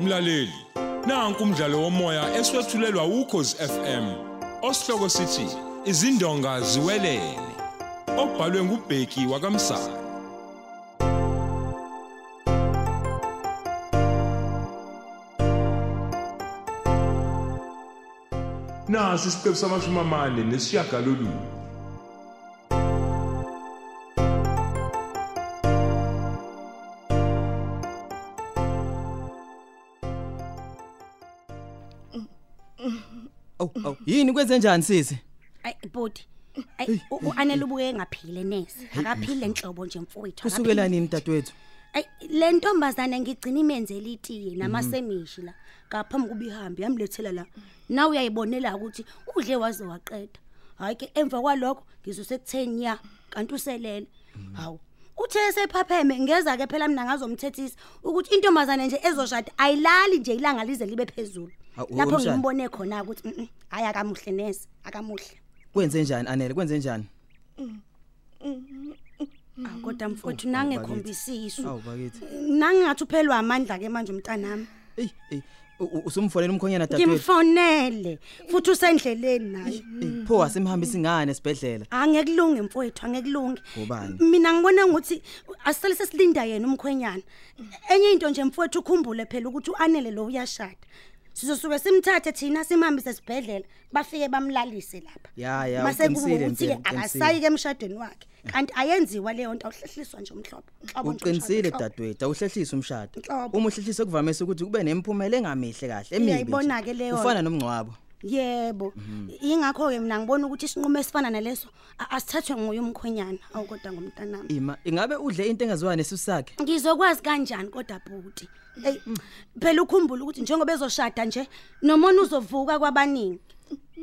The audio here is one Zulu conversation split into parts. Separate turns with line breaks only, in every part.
Mlaleli, nanku umdlalo womoya eswetshulelwa ukhozi FM. Osihloko sithi izindonga ziwelele. Obhalwe ngubheki wakamsa. Nasi isiqebu samashumi amane nesishiyagalolunye.
Aw aw yini kwenze njani sisi?
Ay body. Ay uanele ubuke ngaphile nesi. Akaphile enhlobo nje mfowethu. akaphile.
Kusukela nini dadwethu?
Ay le ntombazana ngigcina imenzele itiye namasemishi la. Ngaphambi kuba ihambe yamlethela la. Na uyayibonela ukuthi udle waze waqeda. Hayi ke emva kwalokho ngizose kutheni ya kanti uselele. Hawu. Uthe esephapheme ngeza ke phela mina ngazomthethisa ukuthi intombazane nje ezoshada ayilali nje ilanga lize libe phezulu.
Hawu, we
Lapho
mshana.
ngimbone khona ukuthi mm, mm, hayi akamuhle nesi, akamuhle.
Kwenze njani Anele? Kwenze njani?
Ah, kodwa
Oh,
mfowethu nangekhompisiswa
Awu bakithi.
nangathi uphelwa amandla ke manje umntanami
Ey ey u- u- usumfonela umkhonyana dadwethu.
ngimfonele futhi usendleleni naye
Ey, Pho asimhambisi ngane sibedlela.
angekulungi mfowethu angekulungi
Ngobani?
mina ngibona ukuthi asisale sesilinda yena umkhwenyana enye into nje mfowethu ukhumbule phela ukuthi uanele lo uyashada sizosuke simthathe thina simhambise sibhedlela bafike bamlalise lapha
Ya, ya,
Mase kube
uqinisile
ukuthi-ke
mfela, uqinisile.
akasayi ke emshadweni wakhe kanti ayenziwa leyo nto awuhlehliswa nje umhlobo Nhlobo nje
Uqinisile
umshado, nhlobo.
dadwethu awuhlehlisi umshado.
Nhlobo.
Uma uhlehlise kuvamise ukuthi kube nemiphumela engamihle kahle emibi. nje.
Uyayibona-ke leyo nto.
Ufana nomngcwabo.
Yebo. Ingakho ke mina ngibona ukuthi isinqumo esifana naleso a- asithathwe nguye umkhwenyana awukodwa ngomntanami.
Ima ingabe udle into engaziwa nesusu sakhe?
Ngizokwazi kanjani kodwa bhuti? Ey, phela ukhumbula ukuthi njengoba ezoshada nje nomona uzovuka kwabaningi.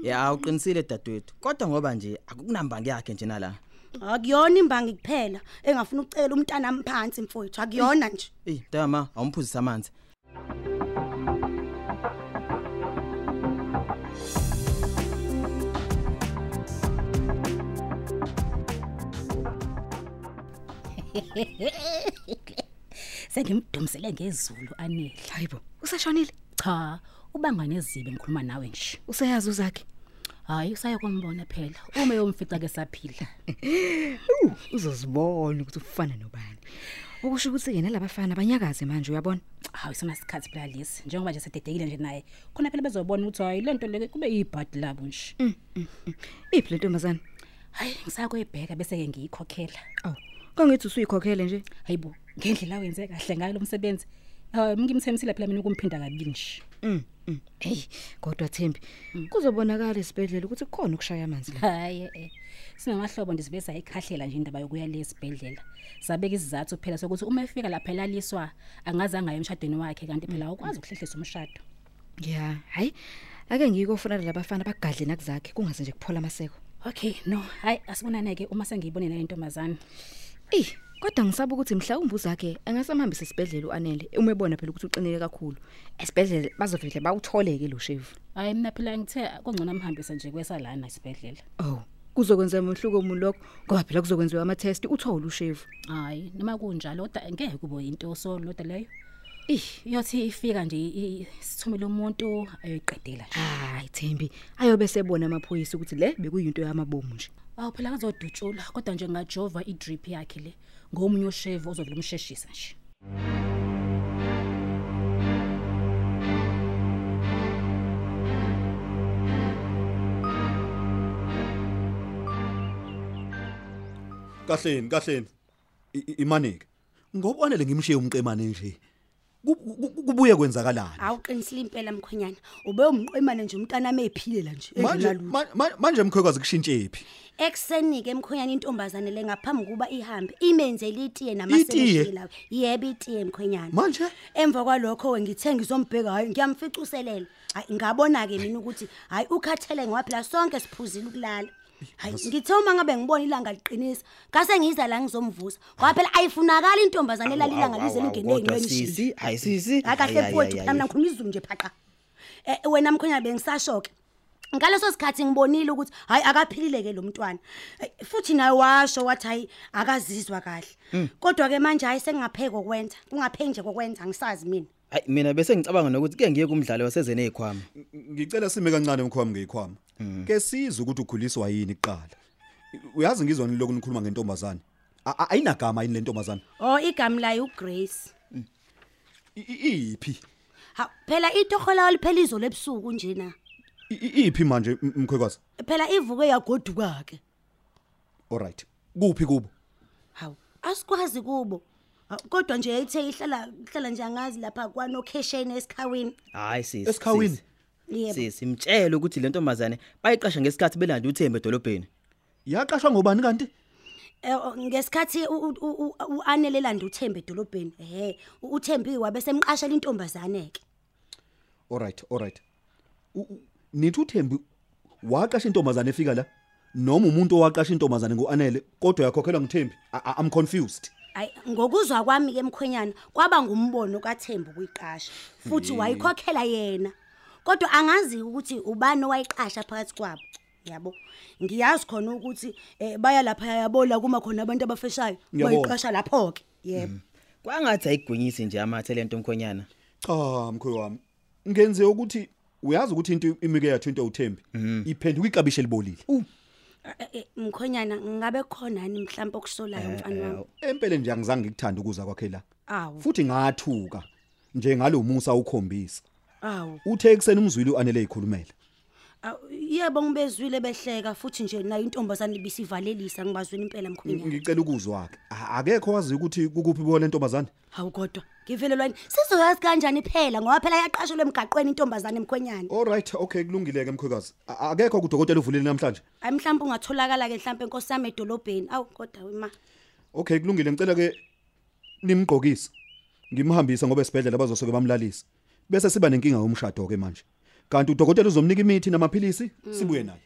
Ya uqinisile dadwethu. Kodwa ngoba nje akukunambangi yakhe nje nala.
Akuyona imbangi kuphela engafuna ukucela umntanami phansi mfowethu, akuyona nje.
Ey dama awumphuzisa amanzi.
Sengimdumisele ngezulu anele.
Hayibo, useshonile?
Cha, ubanga nezibe ngikhuluma nawe nje.
Useyazi uzakhe?
Hayi usaye kombona phela. Uma yomfica ke saphila.
Uzozibona ukuthi ufana nobani. Ukusho ukuthi yena labafana banyakaze manje uyabona?
Hayi sona sikhathi phela lesi. Njengoba nje sededekile nje naye. Khona phela bezobona ukuthi hayi lento le kube yibhadi labo nje.
Iphi le ntombazana?
Hayi ngisakwebheka bese ke ngiyikhokhela.
Aw, kangathi usuyikhokhele nje.
Hayibo, ngendlela wenze kahle ngayo lo msebenzi. Ah, ngimthembisile phela mina ukumphinda kabili nje.
Mm. mm. Hey, kodwa Thembi, kuzobonakala esibedlela ukuthi kukhona ukushaya amanzi la.
Hayi eh. Sinamahlobo nje sibe sayikhahlela nje indaba yokuya lesibhedlela. Sabeka isizathu phela sokuthi uma efika lapha elaliswa angazange aye emshadweni wakhe kanti phela awukwazi ukuhlehlisa umshado.
Yeah, hayi. Ake ngiyikofunela labafana bagadle nakuzakhe kungaze nje kuphola amaseko.
Okay, no. Hayi asibonane ke uma sengiyibone nayo intombazana.
Eh, kodwa ngisaba ukuthi mhlawumbe uzakhe angasamhambisa esibedlela uanele. Umebona phela ukuthi uqinile kakhulu. Esibedlela bazovele bawutholeke lo shevu.
Hayi mina phela ngithe kungcono amhambisa nje kwesa lana isibhedlela.
Oh, kuzokwenza umhluko umuntu lokho ngoba phela kuzokwenziwa ama test uthola ushevu.
Hayi noma kunjalo kodwa ngeke kube into osonoda leyo.
Ih,
Iyothi ifika nje i- sithumele umuntu ayoyiqedela nje.
hayi Thembi, ayobe sebona amaphoyisa ukuthi le bekuyinto yamabomu nje.
Awu phela kazodutshula kodwa nje ngajova i-drip yakhe le ngomunye ushave ozovela umsheshisa nje.
kahleni kahleni I- i- imanike ngoba wanele ngimshiye umqemane nje Ku- ku- ku- kubuye kwenzakalani
Awuqinisile impela mkhwenyana. Ube umqemane nje umntanami eziphilela nje
manje
engenalu.
ma- ma- manje mkhwekazi kushintshephi
Ekseni ke mkhwenyana intombazane le ngaphambi kuba ihambe imenzele itiye
Itiye?
namasemishi lawo. Yebo itiye mkhwenyana.
manje
Emva kwalokho we ngithe ngizombheka hayi ngiyamficuselela. Hayi ngabona ke mina ukuthi hayi ukhathele ngoba phela sonke siphuzile ukulala. Hayi ngithe uma ngabe ngibona ilanga liqinisa ngase ngiza la ngizomvusa. Ngoba phela ayifunakala intombazane lalilanga lize lingene eyinweni.
sisi, hayi sisi.
Akahle
Hayi, hayi,
futhi
hayi,
mina
hayi.
ngikhuluma izulu nje phaqa. Eh wena mkhonyana bengisashoke. Ngaleso sikhathi ngibonile ukuthi hayi akaphilile ke lo mntwana. Eh, Futhi naye washo wathi hayi
Mm.
akazizwa kahle. Kodwa ke manje hayi sengingapheko kwenza. Ungaphenje kokwenza angisazi mina.
hayi mina bese ngicabanga nokuthi ke ngiye kumdlalo wasezene ikhwama
Ngicela sime kancane mkhwami ngeyikhwama. Ke sizwe ukuthi ukhuliswa yini kuqala. Uyazi ngizwa ngiloko nikhuluma ngentombazane. A- a- Ayinagama yini le ntombazane?
Oh igama layo uGrace.
I- i- Iphi?
Ha phela itohola liphela izolo ebusuku nje na.
I- i- Iphi manje m- mkhwekazi?
Phela ivuke yagoduka ke.
Alright. Kuphi kubo?
Hawu asikwazi kubo. Hawu, Kodwa nje yayithe ihlala ihlala nje angazi lapha kwanokhesheni esikhawini.
hayi sisi
Esikhawini.
sisi.
Yebo.
sisi imtshele ukuthi le ntombazane bayiqasha ngesikhathi belanda uThembe edolobheni
Yaqashwa ngobani kanti?
Eh, oh, ngesikhathi u- u- u- u- uanelelanda uThembe edolobheni. Ehhe u- uThembiwa bese emqashela intombazane ke.
Alright, alright. U- u- Nithi uThembi waqasha intombazane efika la? Noma umuntu owaqasha intombazane nguanele kodwa yakhokhelwa nguThembi? I- I- I'm confused.
Ay ngokuzwa kwami ke mkhwenyana kwaba ngumbono kaThembu kuyiqasha futhi wayikhokhela yena. Kodwa angazi ukuthi ubani owayiqasha phakathi kwabo. Yabo. Ngiyazi khona ukuthi eh, baya lapha yabola kuma khona abantu abafeshayo
Ngiyabona.
bayiqasha lapho ke. Yebo.
kwangathi ayigwinyisi nje amathe lento mkhonyana
Cha mkhwe wami. Ngenze ukuthi uyazi ukuthi into imike yathu into uThembi iphenduka iqabishe libolile.
Eh, eh, Mkhwenyana ngabe khona ni mhlawumbe okusolayo mfana wami.
Empele nje angizange ngikuthanda ukuza kwakhe la.
Awu.
Futhi ngathuka nje ngalomusa ukhombisa.
Awu.
Uthe ekseni umzwili uanele ikhulumela.
Awu, Yebo ngibezwile behleka futhi nje nayo intombazane ibisivalelisa ngibazwini impela mkhwenyana.
Ngicela ukuzwa ke. A- Akekho wazi ukuthi kukuphi bona lentombazane.
hawu kodwa ngivelelwani sizoyazi kanjani phela ngoba phela yaqashelwe emgaqweni intombazane emkhwenyana
Alright, okay kulungile ke mkhwekazi. A- Akekho kudokotela uvulile namhlanje.
ayi mhlawumbe ungatholakala-ke mhlawumbe enkosi yami edolobheni awu kodwa wema
Okay kulungile ngicela ke nimgqokise. Ngimhambise ngoba esibhedlela bazosuke bamlalisa. Bese siba nenkinga yomshado ke manje. Kanti udokotela uzomnika imithi namaphilisi sibuye naye.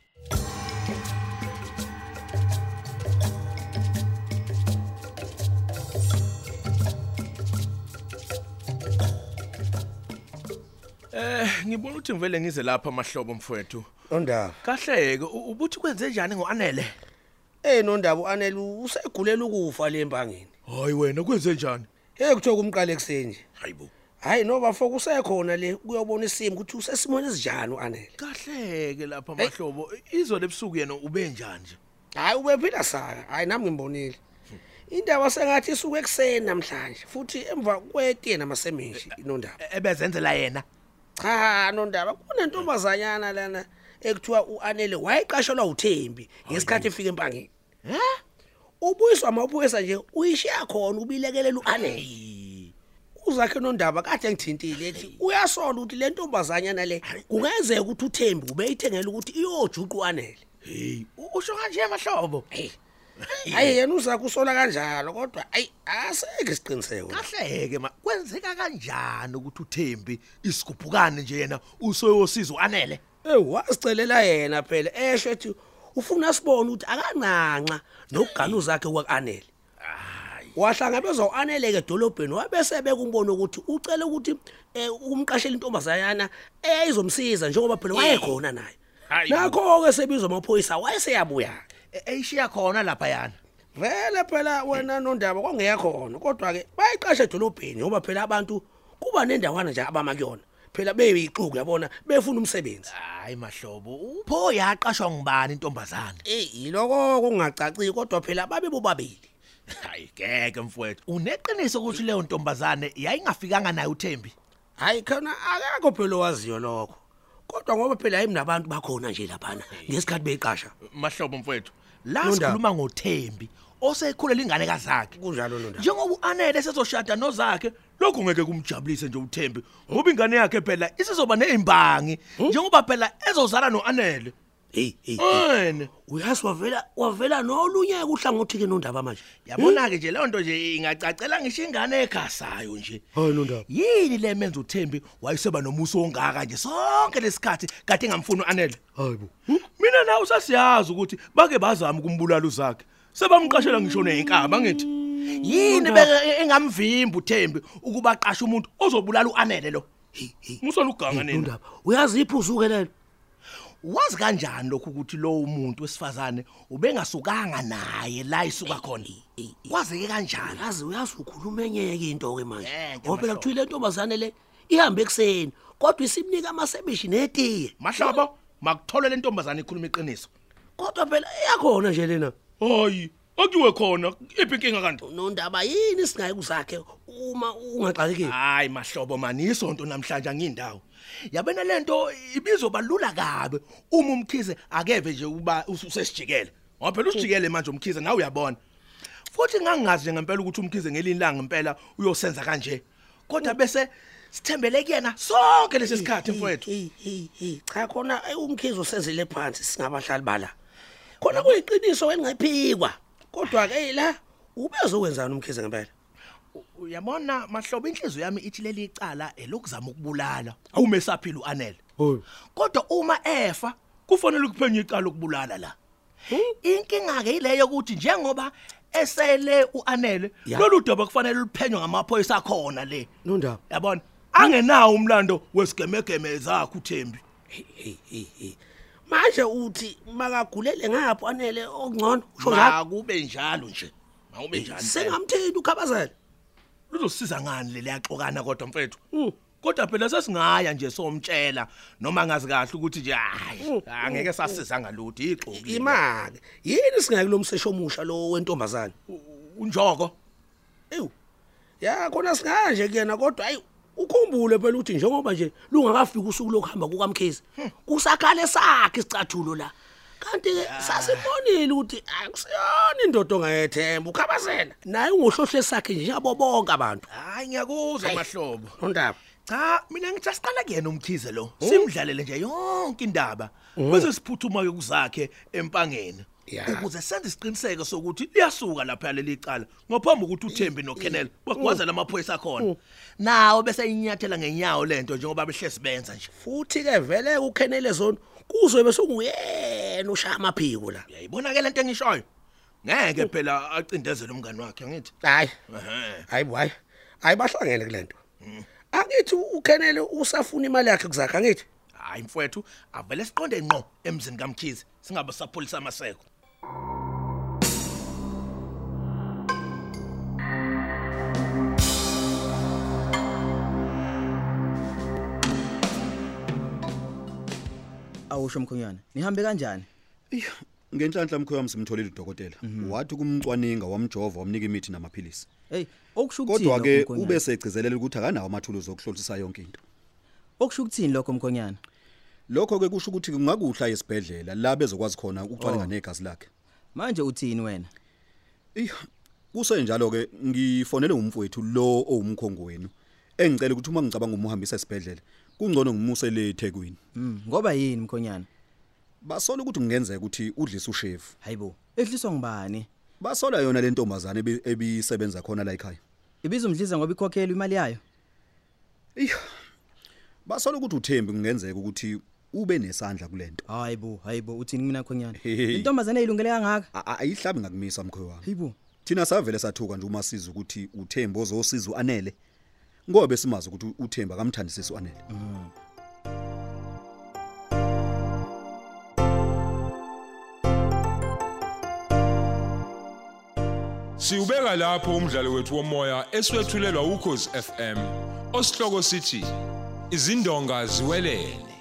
Eh ngibona ukuthi ngivele ngize lapha amahlobo mfowethu.
Nondaba.
Kahleke u- ubuthi kwenze njani ngoanele?
Eh nondaba uanele usegulela ukufa le mpangeni.
Hayi wena kwenze njani?
Hey kuthiwa kumqala ekseni nje.
Hayibo.
Hayi noma foku usekhona le kuyobona isimo ukuthi usesimweni esinjani uanele.
Kahleke lapha amahlobo. Izolo ebusuku yena ube njani nje?
Hayi ubephinda saka. Hayi nami ngimbonile. Indaba sengathi isuke ekseni namhlanje futhi emva kwetiye namasemenshi inondaba.
E- Ebezenzela yena.
Cha nondaba kunentombazanyana lana ekuthiwa uanele wayiqashelwa uThembi ngesikhathi efika empangeni.
He?
Ubuyiswa mawubuyisa nje uyishiya khona ubilekelela uanele.
Eh,
uzakhe nondaba kade ngithintile ethi uyasola ukuthi le ntombazanyana le kungenzeka ukuthi uThembi ubeyithengela ukuthi iyojuqa uanele
Hey, u- usho kanje amahlobo.
hayi yena uzakhe usola kanjalo kodwa ayi aseke siqiniseke wena.
Kahleke ma kwenzeka kanjani ukuthi uThembi isigubhukane nje yena usoyosiza uanele?
eh wasicelela yena phela esho ethi ufuna sibone ukuthi akancanca nokugana uzakhe kwaanele wahlangabezwa uaneleke edolobheni wabese bekumbono ukuthi ucela ukuthi eh, umqashele intombazanyana eyayizomsiza njengoba phela wayekhona naye
Hayi bo.
nakho-ke sebizwa amaphoyisa wayeseyabuya-ke
E- Eyishiya khona lapha yana.
vele phela wena nondaba kwakungeyakhona kodwa-ke bayiqasha edolobheni ngoba phela abantu kuba nendawana nje abama kuyona phela beyixuku yabona befuna umsebenzi
Hayi mahlobo, upho yaqashwa ngubani intombazane?
Eh yiloko kungacaci kodwa phela babe bobabili.
Hayi ngeke mfowethu, uneqiniso ukuthi leyo ntombazane yayingafikanga naye uThembi.
Hayi khona akekho phela owaziyo lokho. Kodwa ngoba phela hayi minabantu bakhona nje laphana ngesikhathi beyiqasha.
Mahlobo mfowethu, la
Nondaba.
sikhuluma ngoThembi osekhulela ingane kaZakhe.
Kunjalo lo ndaba.
Njengoba uAnele esezoshada noZakhe, lokho ngeke kumjabulise nje uThembi. Ngoba ingane yakhe phela isizoba nezimbangi, njengoba phela ezozala noAnele.
Hey hey.
Ene.
Uyazi wavela wavela nolunye uhlangothi ke nondaba manje.
Yabona ke nje leyo nto nje ingacacela ngisho ingane ekhasayo nje.
Hayi nondaba.
Yini le menza uThembi wayeseba nomuso ongaka nje sonke lesikhathi kade engamfuni uAnele?
Hayibo.
Mina nawe sasiyazi ukuthi bake bazama ukumbulala uzakhe. Sebamqashela ngisho nenkaba ngithi. Yini beke e-, engamvimbi uThembi ukuba aqashe umuntu ozobulala uAnele lo. Musona uganga nini?
Nondaba. Uyazi iphuzuke lelo.
Wazi kanjani lokho ukuthi lo umuntu wesifazane ubengasukanga naye la isuka khona? Kwazeke kanjani?
Yazi uyazi ukhuluma enye ke into ke manje.
Eh, nje
Ngoba phela
mahlobo.
kuthi le ntombazane le ihambe ekuseni kodwa isimnika amasebishi netiye
mahlaba makuthole le ntombazana ikhuluma iqiniso
kodwa phela iyakhona nje lena
hayi akuyiwe khona iphi inkinga kanti
nondaba yini singayi kuzakhe uma ungaxakekile
hayi mahlobo mani isonto namhlanje angiyindawo yabena lento ibizobalula kabe uma umkhize akeve nje uba usesijikele ngoba phela usijikele manje umkhize nawe uyabona futhi ngangazi nje ngempela ukuthi umkhize ngelinye ilanga ngempela uyosenza kanje kodwa bese sithembele kuyena sonke lesisikhathi mfowethu
Hey, hey, hey, cha khona eh, umkhizo sezile phansi singabahlali bala khona kuyiqiniso wenqephikwa kodwa ke la ubezokwenzana umkhize ngempela
uyabona mahlobo inhliziyo yami ithi leli icala elokuzama ukubulala awume saphila uanele kodwa uma efa kufanele kuphenye icala lokubulala la Hm? inkinga ke ileyo ukuthi njengoba esele uanele
Ya.
lolu daba kufanele luphenywe ngamaphoyisa khona le
nondaba
yabona angenawo umlando wesigemegeme zakhe uThembi
hey hey hey manje uthi makagulele ngapho anele okungcono usho njalo
makube njalo Eh, nje makube njalo
sengamthini ukhabazela
luzosiza ngani le liyaxokana kodwa mfethu kodwa phela sesingaya nje somtshela noma ngazi kahle ukuthi nje hayi angeke sasiza ngalutho ixoki
imake yini singayi kulomsesho omusha lo wentombazana
unjoko
ewu ya khona singaje kuyena kodwa hayi ukhumbule phela ukuthi njengoba nje lungakafika usuku lokuhamba kukamkhizi kusakhale sakhe isicathulo la kanti ke sasibonile ukuthi akusiyona indoda ongayethemba ukhabazela naye ungohlohle sakhe nje njengabo bonke abantu
hayi ngiyakuzwa mahlobo
ondaba
cha mina ngithi asiqala kuyena umkhize lo simdlalele nje yonke indaba bese siphuthuma yokuzakhe empangeni
Ya.
ukuze senze isiqiniseko sokuthi liyasuka lapha leli cala ngaphambi ukuthi uThembi noKennel bagwazela amaphoyisa khona nawo bese inyathela ngenyawo lento njengoba behlezi benza nje
futhi ke vele ukhenele zona kuzobe sekunguyena ushaya amaphiko la
uyayibona ke lento engishoyo ngeke phela acindezele umngani wakhe ngithi
hayi
ehe
hayi bo, hayi hayi bahlangene kulento angithi ukhenele usafuna imali yakhe kuzakhe angithi
hayi mfowethu avele siqonde ngqo emzini kaMkhize singabe sapholisa amaseko
awusho mkhonyana nihambe kanjani
ngenhlanhla mkhoyo wami simtholile udokotela wathi kumcwaninga wamjova wamnika imithi namaphilisi
hey okusho ukuthini
kodwa ke
lokho, mkhwenyana?
ube segcizelela ukuthi akanawo amathuluzi okuhlolisa yonke into
okusho ukuthini lokho mkhonyana
lokho ke kusho ukuthi kungakuhla esibhedlela la bezokwazi khona ukucwaninga negazi lakhe
manje uthini wena
Iya, kusenjalo ke ngifonele umfowethu lo owumkhongo wenu. Engicela ukuthi uma ngicabanga umuhambisa esibhedlela, kungcono ngimuse le eThekwini.
mm, ngoba yini mkhonyana
Basola ukuthi kungenzeka ukuthi udlise ushefu.
hayibo ehliswa ngubani
Basola yona le ntombazana ebi- ebisebenza khona la ekhaya.
ibizomdliza ngoba ikhokhelwe imali yayo
Iya. Basola ukuthi uThembi kungenzeka ukuthi ube nesandla kulento.
hayibo hayibo uthini mina mkhonyana
Hehe.
intombazane eyilungele kangaka
A- a- Ayihlabi ngakumisa mkhwe wami.
hayibo
Thina savele sathuka nje uma siza ukuthi uThembi ozosiza uanele. Ngoba simazi ukuthi uThembi akamthandisisi uanele.
Siubeka lapho umdlalo wethu womoya eswetshulelwa ukhozi FM. Osihloko sithi izindonga ziwelele.